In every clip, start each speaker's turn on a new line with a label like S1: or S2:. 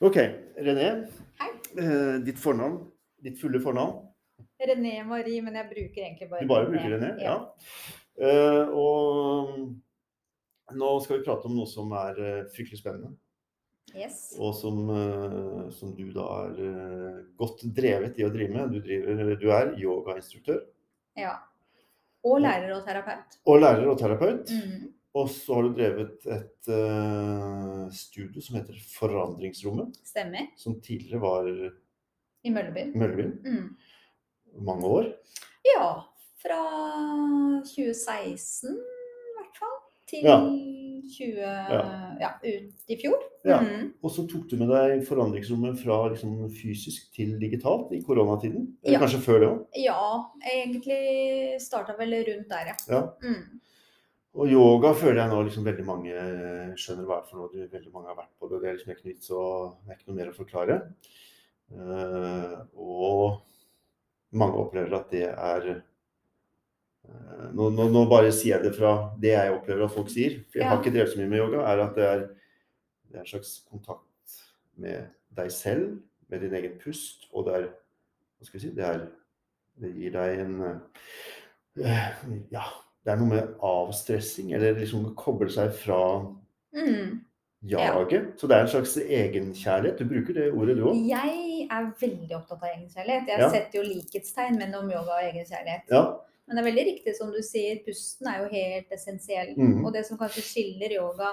S1: OK, René.
S2: Hei.
S1: eh, Ditt fornavn. Ditt fulle fornavn.
S2: René Marie, men jeg bruker egentlig bare
S1: Du bare bruker René? Ja. Eh, Og mm, nå skal vi prate om noe som er eh, fryktelig spennende.
S2: Yes.
S1: Og som, eh, som du da er eh, godt drevet i å drive med. Du, driver, du er yogainstruktør
S2: ja. Og lærer og terapeut.
S1: og lærer og terapeut.
S2: Mm.
S1: Og så har du drevet et eh, studio som heter Forandringsrommet,
S2: Stemmer.
S1: som tidligere var
S2: I Mølleby.
S1: Møllebyen.
S2: Mm.
S1: Mange år.
S2: Ja. Fra 2016 i hvert fall til
S1: Ja.
S2: 20... Ja, ut i fjor.
S1: Ja.
S2: Mm.
S1: Og så tok du med deg forandringsrommet fra liksom, fysisk til digitalt i koronatiden.
S2: Ja.
S1: Eller kanskje før det òg.
S2: ja egentlig starta vel rundt der, ja.
S1: Ja.
S2: Mm.
S1: Og yoga føler jeg nå liksom veldig mange eh, skjønner hva er for noe. Du, veldig mange har vært på det, og det er liksom ikke noe vits å Det er ikke noe mer å forklare. Eh, og mange opplever at det er eh, nå, nå, nå bare sier jeg det fra det jeg opplever at folk sier, for jeg har
S2: Ja.
S1: ikke drevet så mye med yoga, er at det er, det er en slags kontakt med deg selv, med din egen pust, og det er Hva skal vi si Det, er, det gir deg en eh, Ja, det er noe med avstressing, eller liksom å koble seg fra
S2: Mm.
S1: jaget. Så det er en slags egenkjærlighet. Du bruker det ordet, du òg.
S2: Jeg er veldig opptatt av egenkjærlighet. Jeg
S1: Ja.
S2: setter jo likhetstegn mellom yoga og egenkjærlighet.
S1: Ja.
S2: Men det er veldig riktig som du sier, pusten er jo helt essensiell.
S1: Mhm.
S2: Og det som kanskje skiller yoga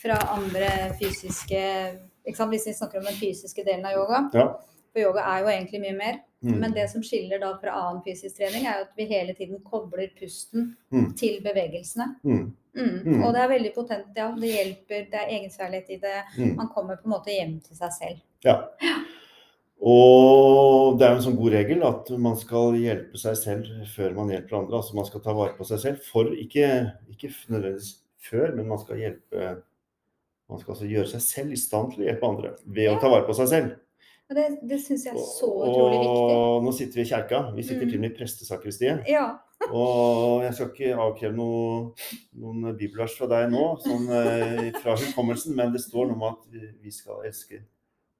S2: fra andre fysiske ikke sant, Hvis vi snakker om den fysiske delen av yoga,
S1: Ja.
S2: for yoga er jo egentlig mye mer.
S1: Mm.
S2: Men det som skiller da fra annen fysisk trening, er jo at vi hele tiden kobler pusten
S1: Mhm.
S2: til bevegelsene.
S1: Mm.
S2: Mm.
S1: Mhm.
S2: Og det er veldig potent. Ja, det hjelper. Det er egenkjærlighet i det.
S1: Mm.
S2: Man kommer på en måte hjem til seg selv.
S1: Og det er jo en sånn god regel at man skal hjelpe seg selv før man hjelper andre. Altså man skal ta vare på seg selv for ikke, ikke f- nødvendigvis før, men man skal hjelpe Man skal altså gjøre seg selv i stand til å hjelpe andre ved å ta vare på seg selv.
S2: Og det, det syns jeg er så utrolig viktig.
S1: Og nå sitter vi i kjerka. Vi sitter
S2: Mm.
S1: til og med i prestesakristiet.
S2: Ja.
S1: Og jeg skal ikke avkreve noe, noen bibelvers fra deg nå, sånn eh, fra hukommelsen, men det står noe om at vi- vi skal elske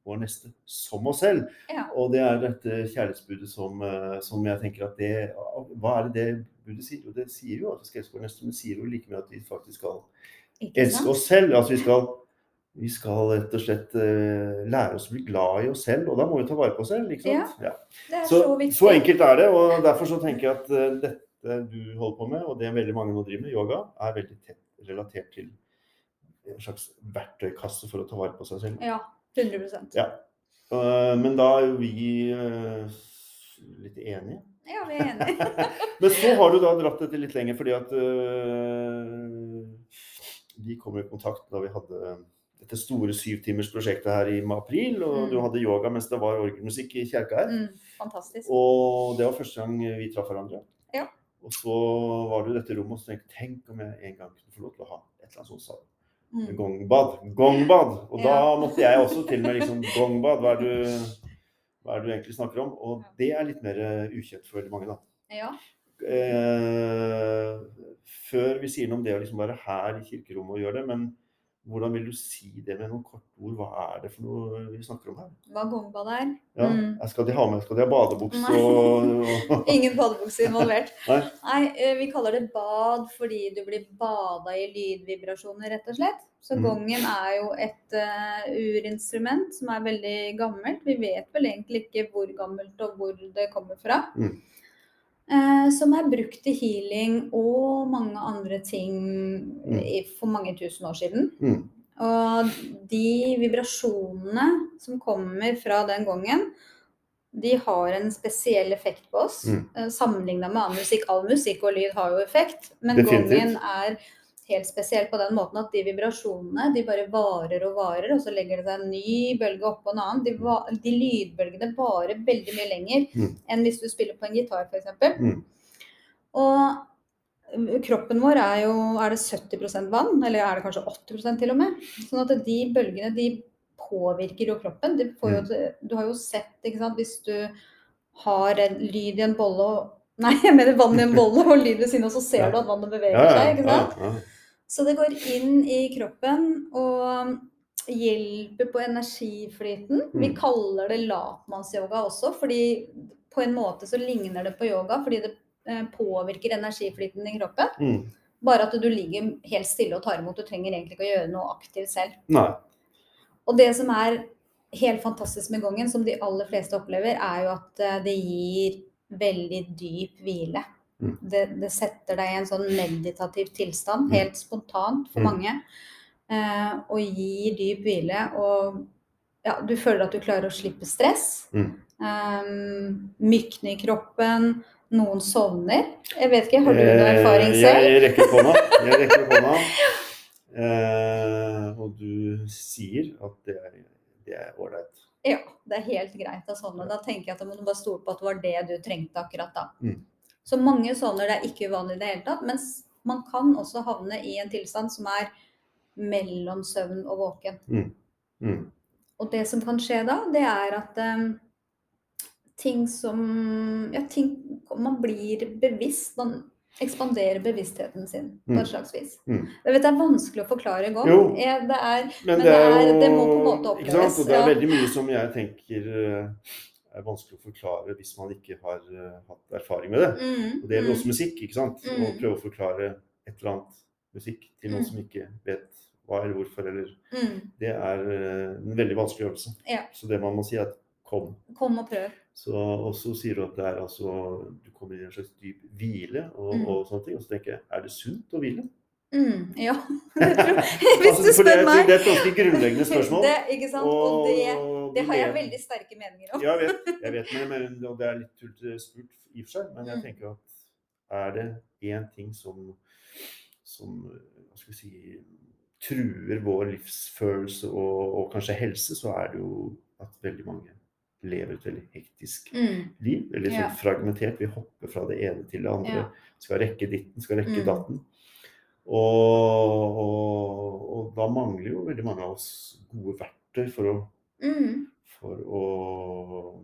S1: vår neste som oss selv.
S2: Ja.
S1: Og det er dette kjærlighetsbudet som, eh, som jeg tenker at det Hva er det det budet sier? Jo, det sier jo at vi skal elske vår neste, men det sier jo like mye at vi faktisk skal
S2: Ikke
S1: elske
S2: sant?
S1: oss selv. Altså vi skal vi skal rett og slett eh, lære oss å bli glad i oss selv, og da må vi ta vare på oss selv. ikke sant? Ja.
S2: Det er
S1: Så,
S2: så, viktig.
S1: så enkelt er det, og derfor så tenker jeg at eh, dette du holder på med, og det veldig mange nå driver med, yoga, er veldig tett relatert til en slags verktøykasse for å ta vare på seg selv.
S2: Ja, 100
S1: Eh, Men da er jo vi eh, litt enige.
S2: Ja, vi er enige.
S1: Men så har du da dratt dette litt lenger, fordi at eh, vi kom i kontakt da vi hadde dette store syvtimersprosjektet her i april, og
S2: Mm.
S1: du hadde yoga mens det var orgelmusikk i kjerka her.
S2: Mm, fantastisk.
S1: Og det var første gang vi traff hverandre.
S2: Ja.
S1: Og så var det jo dette rommet, og så tenkte jeg tenk om jeg en gang kunne få lov til å ha et eller annet sånt sal.
S2: Mm.
S1: Gongbad. Gongbad! Og da
S2: Ja.
S1: måtte jeg også til med liksom gongbad. Hva er det du, hva er det du egentlig snakker om? Og det er litt mer eh, ukjent for veldig mange, da.
S2: Ja.
S1: Eh, før vi sier noe om det å liksom være her i kirkerommet og gjøre det, men hvordan vil du si det med noen korte ord? Hva er det for noe vi snakker om her?
S2: Hva gongbad er.
S1: Ja,
S2: Mm.
S1: Skal de ha med skal de ha badebukse
S2: Nei.
S1: og, og
S2: Ingen badebukse involvert.
S1: Nei.
S2: eh, vi kaller det bad fordi du blir bada i lydvibrasjoner, rett og slett. Så
S1: Mm.
S2: gongen er jo et eh, urinstrument som er veldig gammelt. Vi vet vel egentlig ikke hvor gammelt og hvor det kommer fra.
S1: Mm.
S2: Eh, som er brukt til healing og mange andre ting
S1: Mm.
S2: i, for mange tusen år siden.
S1: Mm.
S2: Og de vibrasjonene som kommer fra den gongen, de har en spesiell effekt på oss.
S1: Mm.
S2: Mm. Sammenligna med annen musikk. All musikk og lyd har jo effekt, men
S1: Definitivt.
S2: gongen er helt spesiell på den måten at de vibrasjonene de bare varer og varer, og så legger det seg en ny bølge oppå en annen. De, va de lydbølgene varer veldig mye lenger
S1: Mm.
S2: enn hvis du spiller på en gitar, f.eks.
S1: Mm.
S2: Og um, Kroppen vår er jo er det 70 vann, eller er det kanskje 80 til og med. Sånn at de bølgene de påvirker jo kroppen. Det får
S1: Mm.
S2: jo, Du har jo sett, ikke sant, hvis du har en lyd i en bolle og Nei, jeg mener vann i en bolle og lyd ved siden av, så ser
S1: Ja.
S2: du at vannet
S1: Ja,
S2: beveger
S1: ja,
S2: seg. ikke sant?
S1: ja, ja.
S2: Så det går inn i kroppen, og hjelper på energiflyten. Vi
S1: Mm.
S2: kaller det latmannsyoga også, fordi på en måte så ligner det på yoga fordi det eh, påvirker energiflyten i kroppen.
S1: Mm.
S2: Bare at du ligger helt stille og tar imot. Du trenger egentlig ikke å gjøre noe aktivt selv.
S1: Nei.
S2: Og det som er helt fantastisk med gongen, som de aller fleste opplever, er jo at eh, det gir veldig dyp hvile.
S1: Mm.
S2: Det, det setter deg i en sånn meditativ tilstand,
S1: Mm.
S2: helt spontant for
S1: Mm.
S2: mange, eh, og gir dyp hvile. Og ja, du føler at du klarer å slippe stress.
S1: Mm.
S2: Um, mykne i kroppen. Noen sovner. Jeg vet ikke, har du noen
S1: Eh,
S2: erfaring
S1: Jeg,
S2: selv?
S1: jeg rekker opp hånda. Jeg rekker opp hånda. Eh, og du sier at det er- det er ålreit.
S2: Ja, det er helt greit å sovne. Da tenker jeg at da må du bare stole på at det var det du trengte akkurat da.
S1: Mm.
S2: Så mange sovner, det er ikke uvanlig i det hele tatt. Mens man kan også havne i en tilstand som er mellom søvn og våken.
S1: Mm.
S2: Og det som kan skje da, det er at em, ting som Ja, ting Man blir bevisst. Man ekspanderer bevisstheten sin på
S1: Mm.
S2: et slags vis.
S1: Mm.
S2: Jeg vet det er vanskelig å forklare i går.
S1: Jo.
S2: Jeg- Det er
S1: Men,
S2: Men
S1: det er
S2: det
S1: jo
S2: er- det må på en måte
S1: ikke sant?
S2: oppleves,
S1: Og det er
S2: ja.
S1: veldig mye som jeg tenker eh, er vanskelig å forklare hvis man ikke har eh, hatt erfaring med det.
S2: mm,
S1: Og det gjelder
S2: mm.
S1: også musikk. ikke sant? Å
S2: Mm.
S1: prøve å forklare et eller annet musikk til noen
S2: Mm.
S1: som ikke vet hva eller hvorfor. eller
S2: Mm.
S1: Det er eh, en veldig vanskelig øvelse.
S2: Ja.
S1: Så det man må si, er at kom.
S2: Kom og prøv.
S1: Så, og så sier du at det er altså, du kommer inn i en slags dyp hvile og,
S2: Mm.
S1: og sånne ting. Og så tenker jeg, er det sunt å hvile? Altså,
S2: Mm, ja. Det tror- Hvis du
S1: for det,
S2: spør
S1: er-
S2: meg.
S1: Det er et ganske grunnleggende spørsmål.
S2: Det, ikke sant? Og det, det har jeg veldig sterke meninger om.
S1: Ja, jeg vet, jeg vet men, men, og det er litt tullete spurt i og for seg, men jeg
S2: Mm.
S1: tenker at er det én ting som, som hva skal vi si, truer vår livsfølelse og, og kanskje helse, så er det jo at veldig mange lever et veldig hektisk
S2: Mm,
S1: liv. Veldig sånn
S2: Ja.
S1: fragmentert. Vi hopper fra det ene til det andre.
S2: ja.
S1: Skal rekke ditten, skal rekke
S2: Mm.
S1: datten. Og, og, og da mangler jo veldig mange av oss gode verktøy for å
S2: Mm,
S1: for å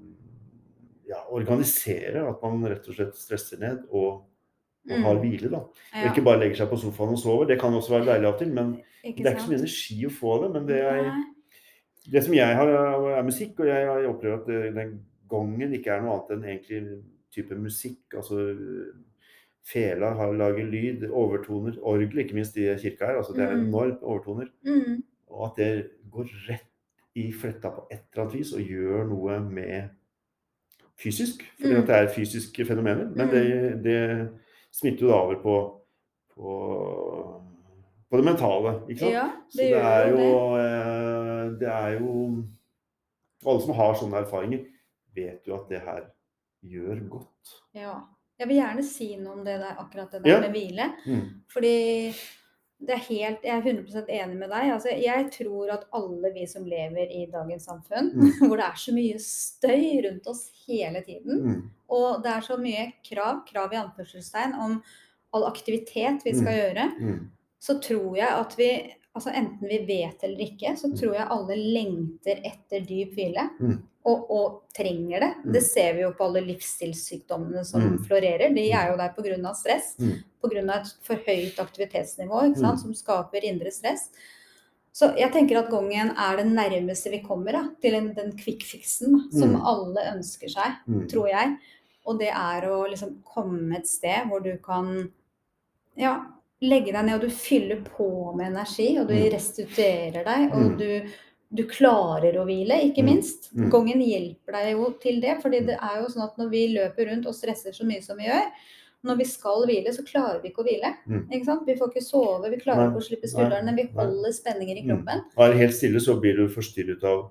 S1: ja, organisere at man rett og slett stresser ned og, og har
S2: mm,
S1: hvile. da. Og
S2: ja.
S1: ikke bare legger seg på sofaen og sover. Det kan også være deilig av og til, men
S2: Ikke
S1: det er ikke så
S2: sant?
S1: mye energi å få av det. Men det, er,
S2: Nei.
S1: det som jeg har, er, er musikk, og jeg, jeg opplever at eh, den gongen ikke er noe annet enn egentlig type musikk. altså... eh, Fela har lager lyd, overtoner, orgel, ikke minst i kirka her. altså Det er
S2: Mm.
S1: enormt overtoner.
S2: Mm,
S1: Og at det går rett i fletta på et eller annet vis og gjør noe med fysisk. Fordi
S2: Mm.
S1: at det er fysiske fenomener. Men det, det smitter jo da over på, på, på det mentale. Ikke sant?
S2: ja,
S1: Så
S2: det
S1: det er
S2: gjør
S1: jo
S2: jo det.
S1: eh, Det er jo Alle som har sånne erfaringer, vet jo at det her gjør godt.
S2: Ja. Jeg vil gjerne si noe om det der, akkurat det
S1: Ja.
S2: der med hvile.
S1: Mm.
S2: Fordi det er helt, jeg er 100 enig med deg. Altså, jeg tror at alle vi som lever i dagens samfunn,
S1: Mm.
S2: hvor det er så mye støy rundt oss hele tiden,
S1: Mm.
S2: Og det er så mye krav, krav i anførselstegn, om all aktivitet vi skal
S1: Mm.
S2: gjøre.
S1: Mm.
S2: Så tror jeg at vi, altså enten vi vet eller ikke, så tror jeg alle lengter etter dyp hvile.
S1: Mm.
S2: Og, og trenger det.
S1: Mm.
S2: Det ser vi jo på alle livsstilssykdommene som
S1: Mm.
S2: florerer. De er jo der pga. stress.
S1: Mm.
S2: Pga. et for høyt aktivitetsnivå ikke
S1: Mm.
S2: sant? som skaper indre stress. Så jeg tenker at gongen er det nærmeste vi kommer da, til en, den quick fixen da, som
S1: Mm.
S2: alle ønsker seg
S1: Mm.
S2: tror jeg. Og det er å liksom komme et sted hvor du kan ja, legge deg ned, og du fyller på med energi, og du
S1: Mm.
S2: restituerer deg, og
S1: Mm.
S2: du, du klarer å hvile, ikke
S1: Mm.
S2: minst.
S1: Mm.
S2: Gongen hjelper deg jo til det, fordi
S1: Mm.
S2: det er jo sånn at når vi løper rundt og stresser så mye som vi gjør, når vi skal hvile, så klarer vi ikke å hvile.
S1: Mm.
S2: Ikke sant? Vi får ikke sove, vi klarer
S1: Nei,
S2: ikke å slippe
S1: nei,
S2: skuldrene, vi
S1: nei.
S2: holder spenninger i
S1: Mm.
S2: kroppen.
S1: Er det helt stille, så blir du forstyrret av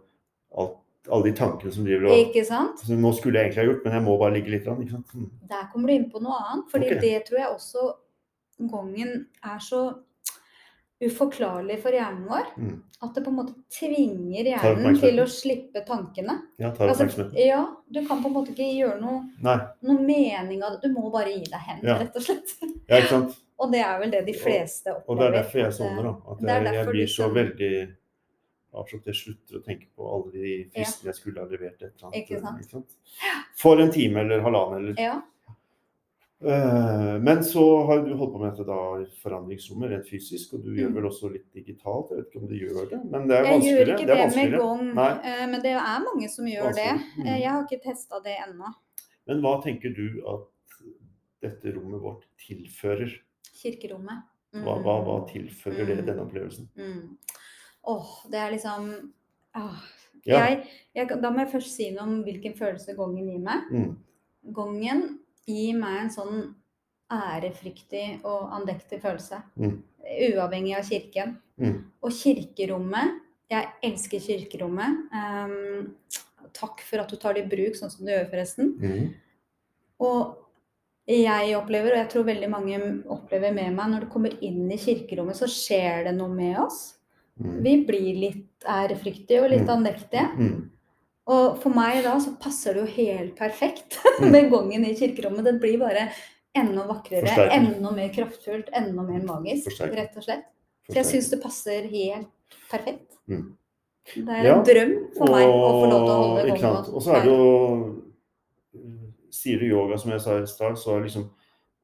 S1: alt, alle de tankene som driver og
S2: Ikke sant?
S1: altså, Nå skulle jeg egentlig ha gjort, men jeg må bare ligge litt. grann, Ikke sant? Mm.
S2: Der kommer du inn på noe annet, fordi
S1: Ok.
S2: det tror jeg også gongen er så uforklarlig for hjernen vår.
S1: Mm.
S2: At det på en måte tvinger
S1: Tar
S2: hjernen
S1: oppmerksomheten.
S2: til å slippe tankene.
S1: Ja, tar
S2: Altså,
S1: oppmerksomheten.
S2: ja, du kan på en måte ikke gjøre noe,
S1: Nei.
S2: noe mening av det. Du må bare gi deg hen,
S1: Ja.
S2: rett og slett.
S1: Ja, ikke sant?
S2: Og det er vel det de
S1: Og-
S2: fleste
S1: Og det
S2: opplever.
S1: er derfor jeg
S2: at, eh,
S1: sovner, da. At
S2: det
S1: jeg,
S2: er
S1: jeg
S2: derfor liksom-
S1: blir
S2: du
S1: så
S2: sovner.
S1: veldig avslappet. Jeg slutter å tenke på alle de fristene jeg skulle ha levert et eller annet.
S2: Ikke sant? eh,
S1: For en time eller halvannen eller
S2: Ja,
S1: Eh, Men så har jo du holdt på med dette da i forandringsrommet rent fysisk, og du gjør
S2: Mm.
S1: vel også litt digitalt. Jeg vet ikke om du gjør det, men det er
S2: Jeg gjør
S1: vanskeligere.
S2: ikke
S1: Det
S2: det
S1: er
S2: med
S1: vanskeligere.
S2: gong,
S1: Nei.
S2: eh, men det er mange som gjør det.
S1: Vanskeligere.
S2: Eh,
S1: Mm.
S2: Jeg har ikke testa det ennå.
S1: Men hva tenker du at dette rommet vårt tilfører?
S2: Kirkerommet.
S1: Hva, hva, hva tilfører det
S2: Mm.
S1: denne opplevelsen?
S2: Mm. Åh, det er liksom ah.
S1: Ja.
S2: jeg, jeg, kan- Da må jeg først si noe om hvilken følelse gongen gir meg.
S1: Mm.
S2: Gongen gir meg en sånn ærefryktig og andektig følelse.
S1: Mm.
S2: Uavhengig av kirken.
S1: Mm.
S2: Og kirkerommet. Jeg elsker kirkerommet. Ehm, takk for at du tar det i bruk, sånn som du gjør, forresten.
S1: Mm.
S2: Og jeg opplever, og jeg tror veldig mange opplever med meg, når du kommer inn i kirkerommet, så skjer det noe med oss.
S1: Mm.
S2: Vi blir litt ærefryktige og litt
S1: Mm.
S2: andektige.
S1: Mm.
S2: Og for meg da så passer det jo helt perfekt
S1: Mm.
S2: med gongen i kirkerommet. Den blir bare enda vakrere,
S1: Forsterker.
S2: enda mer kraftfullt, enda mer magisk,
S1: Forsterker.
S2: rett og slett. Så jeg
S1: Forstår.
S2: syns det passer helt perfekt.
S1: Mm.
S2: Det er
S1: Ja,
S2: en drøm for meg å få lov til å
S1: Og-
S2: holde
S1: ikke sant?
S2: gongen.
S1: Og så er det jo eh, Sier du yoga, som jeg sa i stad, så er liksom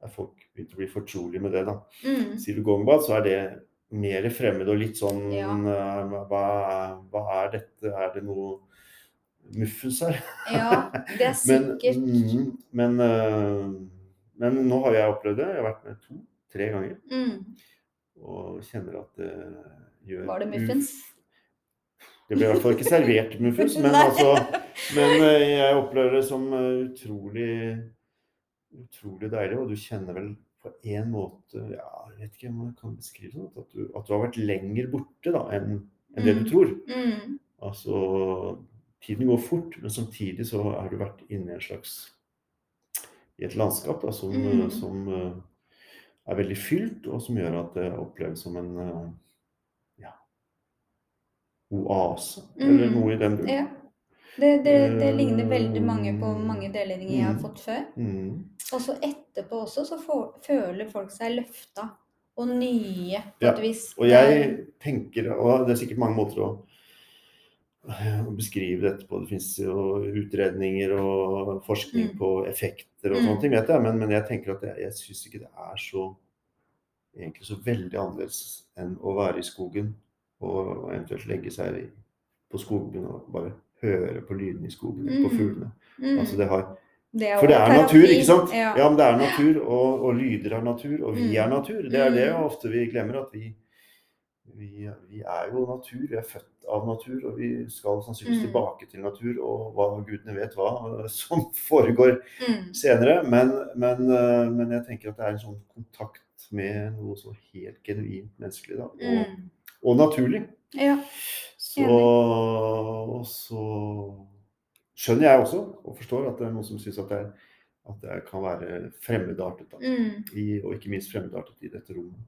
S1: er folk begynt å bli fortrolige med det, da.
S2: mm.
S1: Sier du gongbad, så er det mer fremmed og litt sånn
S2: Ja.
S1: eh, hva, hva er dette? Er det noe muffens her?
S2: Ja, det er
S1: Men,
S2: sikkert.
S1: mm, men, eh, men nå har jeg opplevd det. Jeg har vært med to-tre ganger
S2: Mm.
S1: og kjenner at det gjør
S2: Var det muffens?
S1: Det ble i hvert fall ikke servert muffins, men,
S2: Nei.
S1: altså, men eh, jeg opplever det som eh, utrolig, utrolig deilig. Og du kjenner vel på en måte ja, Jeg vet ikke om jeg kan beskrive det, sånn, at du, at du har vært lenger borte da, enn enn det du
S2: Mm.
S1: tror.
S2: Mm.
S1: Altså, tiden går fort, men samtidig så har du vært inne i en slags i et landskap da, som, eh,
S2: Mm.
S1: som eh, er veldig fylt, og som gjør at det oppleves som en eh, ja, oase, eller
S2: Mm.
S1: noe i den duren.
S2: Ja. Det, det,
S1: Eh,
S2: det ligner veldig mange på
S1: Mm.
S2: mange delledninger jeg har
S1: Mm.
S2: fått før.
S1: Mm.
S2: Og så etterpå også så få- føler folk seg løfta og nye på
S1: Ja,
S2: et vis.
S1: Og jeg tenker, og det er sikkert mange måter å, å beskrive dette på, det fins jo utredninger og forskning
S2: Mm.
S1: på effekter og
S2: Mm.
S1: sånne ting, vet jeg, men, men jeg tenker at jeg, jeg syns ikke det er så egentlig så veldig annerledes enn å være i skogen og, og eventuelt legge seg i, på skogen og bare høre på lydene i skogen, på
S2: Mm.
S1: fuglene.
S2: Mm,
S1: Altså det har
S2: det
S1: For
S2: jo
S1: det er
S2: terapi.
S1: natur, ikke sant?
S2: Ja.
S1: Ja, men det er natur, og, og lyder er natur, og vi
S2: Mm.
S1: er natur. Det er det
S2: Mm.
S1: ofte vi glemmer, at vi, vi, vi er jo natur. Vi er født av natur, og vi skal sannsynligvis
S2: Mm.
S1: tilbake til natur, og hva gudene vet hva eh, som foregår
S2: Mm,
S1: senere. Men, men, eh, men jeg tenker at det er en sånn kontakt med noe så helt genuint menneskelig, da. Og,
S2: mm.
S1: og naturlig.
S2: Ja.
S1: Så, og så skjønner jeg også, og forstår at det er noen som syns at, det er- at det kan være fremmedartet. Da,
S2: Mm.
S1: i, og ikke minst fremmedartet i dette rommet.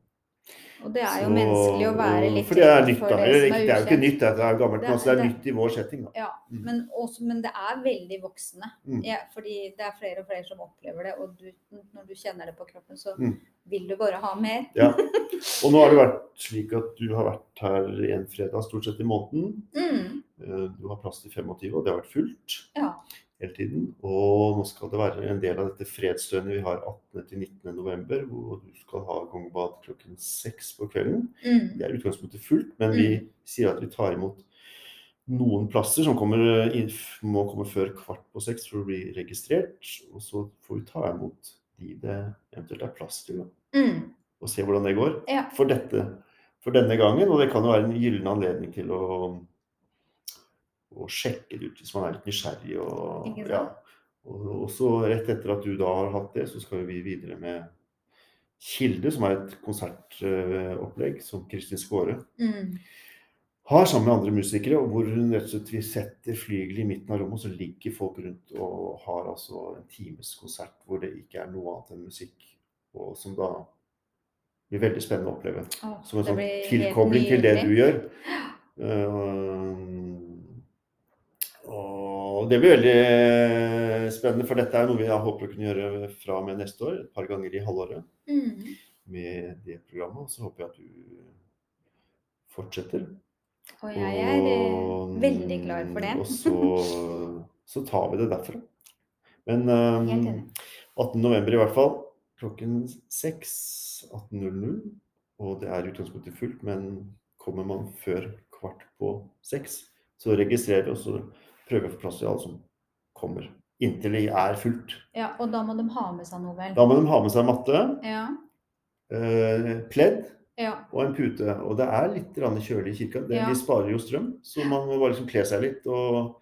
S2: Og det er jo
S1: Så-
S2: menneskelig å være
S1: og-
S2: litt
S1: For det er
S2: redd
S1: nytt,
S2: for
S1: da.
S2: det
S1: Eller,
S2: som er
S1: ikke- det er jo ikke
S2: ukjent.
S1: nytt, dette er jo gammelt,
S2: Det
S1: det,
S2: er-
S1: altså, det er
S2: det-
S1: nytt i vår setting. Da.
S2: Ja,
S1: Mm.
S2: men, også, men det er veldig voksende.
S1: Mm.
S2: Ja, fordi det er flere og flere som opplever det, og du, når du kjenner det på kroppen, så
S1: Mm.
S2: vil du bare ha mer.
S1: Ja. Og nå har det vært slik at du har vært her en fredag stort sett i måneden.
S2: Mm.
S1: Eh, Du har plass til 25, og det har vært fullt
S2: Ja.
S1: hele tiden. Og nå skal det være en del av dette fredsdøgnet vi har 18.-19. november, hvor du skal ha gongbad klokken seks på kvelden.
S2: Mm.
S1: Det er i utgangspunktet fullt, men vi sier at vi tar imot noen plasser som kommer eh, inn, må komme før kvart på seks for å bli registrert. Og så får vi ta imot de det eventuelt er plass til, da,
S2: Mm.
S1: og se hvordan det går
S2: Ja.
S1: for, dette, for denne gangen. Og det kan jo være en gyllen anledning til å, å sjekke det ut hvis man er litt nysgjerrig. Og,
S2: Ikke sant?
S1: ja. og og så rett etter at du da har hatt det, så skal jo vi videre med Kilde, som er et konsertopplegg som Kristin Skåre
S2: Mm.
S1: har sammen med andre musikere, og hvor hun rett og slett vi setter flygelet i midten av rommet, og så ligger folk rundt og har altså en times konsert hvor det ikke er noe annet enn musikk, og som da blir veldig spennende å oppleve.
S2: Åh,
S1: Som en
S2: det
S1: sånn
S2: blir helt
S1: tilkobling til det du
S2: nydelig.
S1: gjør. Ehm, og det blir veldig spennende, for dette er noe vi har håper å kunne gjøre fra og med neste år, et par ganger i halvåret
S2: Mm.
S1: med det programmet. Og så håper jeg at du fortsetter.
S2: Og jeg er eh, veldig klar for det.
S1: Og så, så tar vi det derfra. Men
S2: Helt enig.
S1: um, 18. november i hvert fall. klokken 6, 18.00. Og det er i utgangspunktet fullt, men kommer man før kvart på seks, så registrerer vi og så prøver vi å få plass til alle som kommer. Inntil det er fullt.
S2: Ja, og da må de ha med seg noe, vel?
S1: Da må de ha med seg matte,
S2: Ja.
S1: eh, pledd
S2: ja.
S1: og en pute. Og det er litt grann kjølig i kirka. Det,
S2: Ja.
S1: De sparer jo strøm, så man må bare liksom kle seg litt og,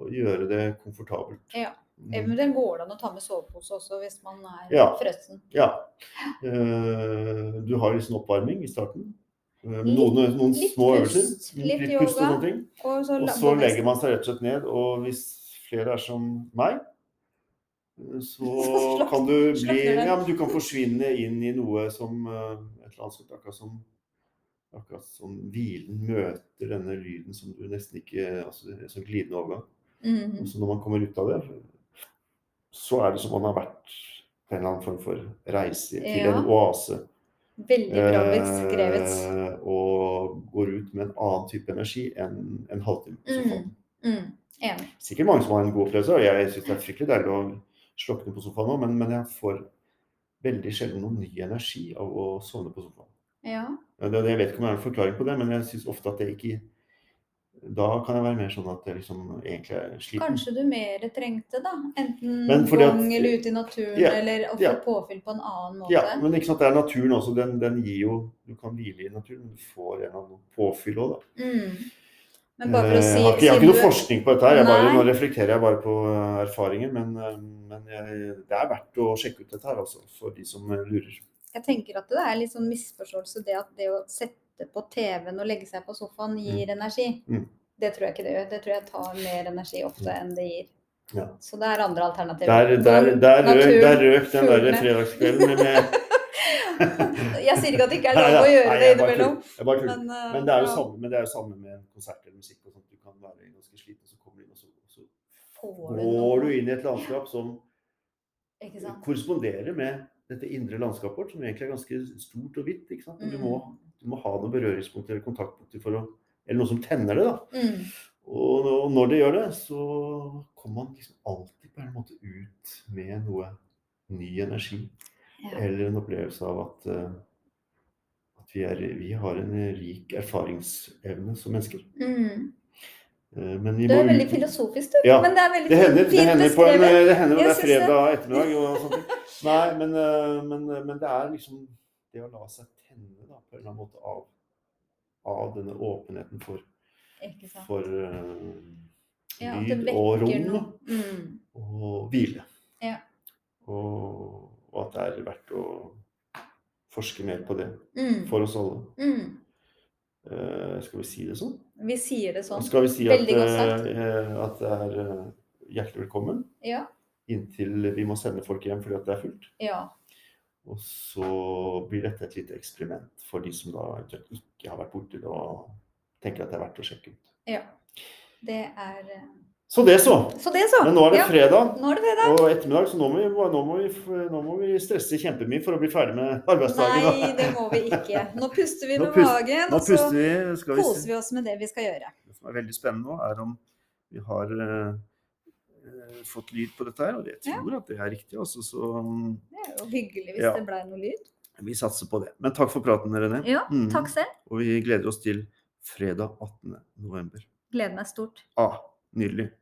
S1: og gjøre det komfortabelt.
S2: Ja.
S1: Mm.
S2: Eventuelt Eh, går det an å ta med sovepose også hvis man er
S1: Ja.
S2: frøsen.
S1: ja. Eh, Du har liksom oppvarming i starten. Eh, Noen, noen
S2: litt
S1: små
S2: pust,
S1: øvelser.
S2: litt
S1: Litt pust og
S2: yoga.
S1: sånne ting.
S2: Og så,
S1: Og så legger man seg rett og slett ned, og hvis flere er som meg, så
S2: slakt-
S1: kan du bli
S2: slakter den.
S1: Ja, men du kan forsvinne inn i noe som eh, Et eller annet sånt, akkurat som Akkurat som hvilen møter denne lyden som du nesten ikke Altså det er en sånn glidende overgang.
S2: Mhm.
S1: Så når man kommer ut av det, så er det som om man har vært på en eller annen form for reise til
S2: Ja.
S1: en oase.
S2: Veldig bra beskrevet.
S1: Eh, og går ut med en annen type energi enn en halvtime. på sofaen.
S2: Mm. Mm. Enig.
S1: sikkert mange som har en god opplevelse, og jeg syns det er fryktelig deilig å slokne på sofaen nå, men, men jeg får veldig sjelden noen ny energi av å sovne på sofaen.
S2: Ja.
S1: Ja, det- Jeg vet ikke om det er en forklaring på det, men jeg syns ofte at det ikke Da kan jeg være mer sånn at jeg liksom egentlig er sliten.
S2: Kanskje du mer trengte, da.
S1: Men
S2: Enten
S1: fordi at-
S2: gang eller ute i naturen,
S1: Ja,
S2: eller å få
S1: ja.
S2: påfyll på en annen måte.
S1: Ja, men ikke sant, det er naturen også. Den, den gir jo Du kan hvile i naturen, men du får en eller annen påfyll òg, da.
S2: Mm. Men bare for å
S1: Eh,
S2: si
S1: jeg, har ikke, jeg har
S2: siden
S1: ikke noe
S2: du-
S1: forskning på dette. her, jeg bare,
S2: Nei.
S1: Nå reflekterer jeg bare på eh, erfaringer. Men, eh, men jeg, det er verdt å sjekke ut dette her, altså, for de som eh, lurer.
S2: Jeg tenker at det er litt sånn misforståelse det at det å sette på TV-en og legge seg på sofaen gir energi.
S1: Mm.
S2: Det tror jeg ikke det gjør. Det tror jeg tar mer energi ofte enn det gir.
S1: Ja.
S2: Så det er andre alternativer. Sånn
S1: Der, der, der, røk,
S2: Natur,
S1: der røk den der
S2: fuglene.
S1: fredagskvelden med
S2: Jeg sier ikke at det ikke er lov å
S1: Nei,
S2: gjøre
S1: nei,
S2: det
S1: jeg bare
S2: innimellom,
S1: tuller. Jeg bare tuller.
S2: men, eh,
S1: Men det er jo sånn.
S2: ja,
S1: samme, men det er jo samme med konsert eller musikk. og sånt. Du kan være ganske sliten, så kommer du inn, og så, og så
S2: får du noe-
S1: går du inn i et landskap som
S2: Ikke sant?
S1: korresponderer med dette indre landskapet vårt, som egentlig er ganske stort og hvitt. ikke sant? Men du må,
S2: Mm.
S1: du må ha noen berøringspunkter eller kontaktpunkter for å Eller noe som tenner det, da.
S2: Mm.
S1: Og nå- og når det gjør det, så kommer man liksom alltid på en måte ut med noe ny energi.
S2: Ja.
S1: Eller en opplevelse av at, eh, at vi, er, vi har en rik erfaringsevne som mennesker.
S2: Mm.
S1: Eh, Men vi
S2: Du er
S1: må
S2: veldig
S1: ut-
S2: filosofisk, du.
S1: Ja,
S2: Men det er veldig
S1: det hender, det
S2: fint
S1: hender, på en, eh,
S2: beskrevet.
S1: det hender når
S2: Jeg
S1: det er
S2: synes det.
S1: fredag ettermiddag og sånne ting. Nei, men, eh, men, men det er liksom det å la seg tenne da, på en eller annen måte av, av denne åpenheten for,
S2: Ikke sant?
S1: for eh,
S2: Ja, at det
S1: lyd og
S2: vekker
S1: rom
S2: noe. Mm.
S1: og hvile.
S2: Ja.
S1: Og, og at det er verdt å forske mer på det
S2: Mm.
S1: for oss alle.
S2: Mm.
S1: Eh, skal vi si det sånn?
S2: Vi sier det sånn.
S1: Skal vi si at,
S2: Veldig godt sagt.
S1: eh, at det er eh, hjertelig velkommen
S2: Ja.
S1: inntil vi må sende folk hjem fordi at det er fullt?
S2: ja.
S1: Og så blir dette et lite eksperiment for de som da eventuelt ikke har vært borti det og tenker at det er verdt å sjekke ut.
S2: Det er eh,
S1: Så det, så.
S2: Så det, så.
S1: Men nå er det
S2: Ja.
S1: fredag
S2: Nå er det fredag.
S1: og ettermiddag, så nå må vi, nå må vi, nå må vi stresse kjempemye for å bli ferdig med arbeidsdagen.
S2: Nei, det må vi ikke. Nå puster vi
S1: Nå
S2: med
S1: pust-
S2: magen,
S1: Nå
S2: og så
S1: puster vi. Skal vi
S2: koser vi oss med det vi skal gjøre.
S1: Det som er veldig spennende nå, er om vi har eh, eh, fått lyd på dette her, og jeg
S2: Ja.
S1: tror at det er riktig. Altså, så mm,
S2: Det er jo hyggelig hvis
S1: Ja.
S2: det blei noe lyd.
S1: vi satser på det. Men takk for praten, René.
S2: Ja,
S1: Mm.
S2: takk selv.
S1: Og vi gleder oss til fredag 18. november.
S2: Gleden er stort.
S1: Ah, nydelig.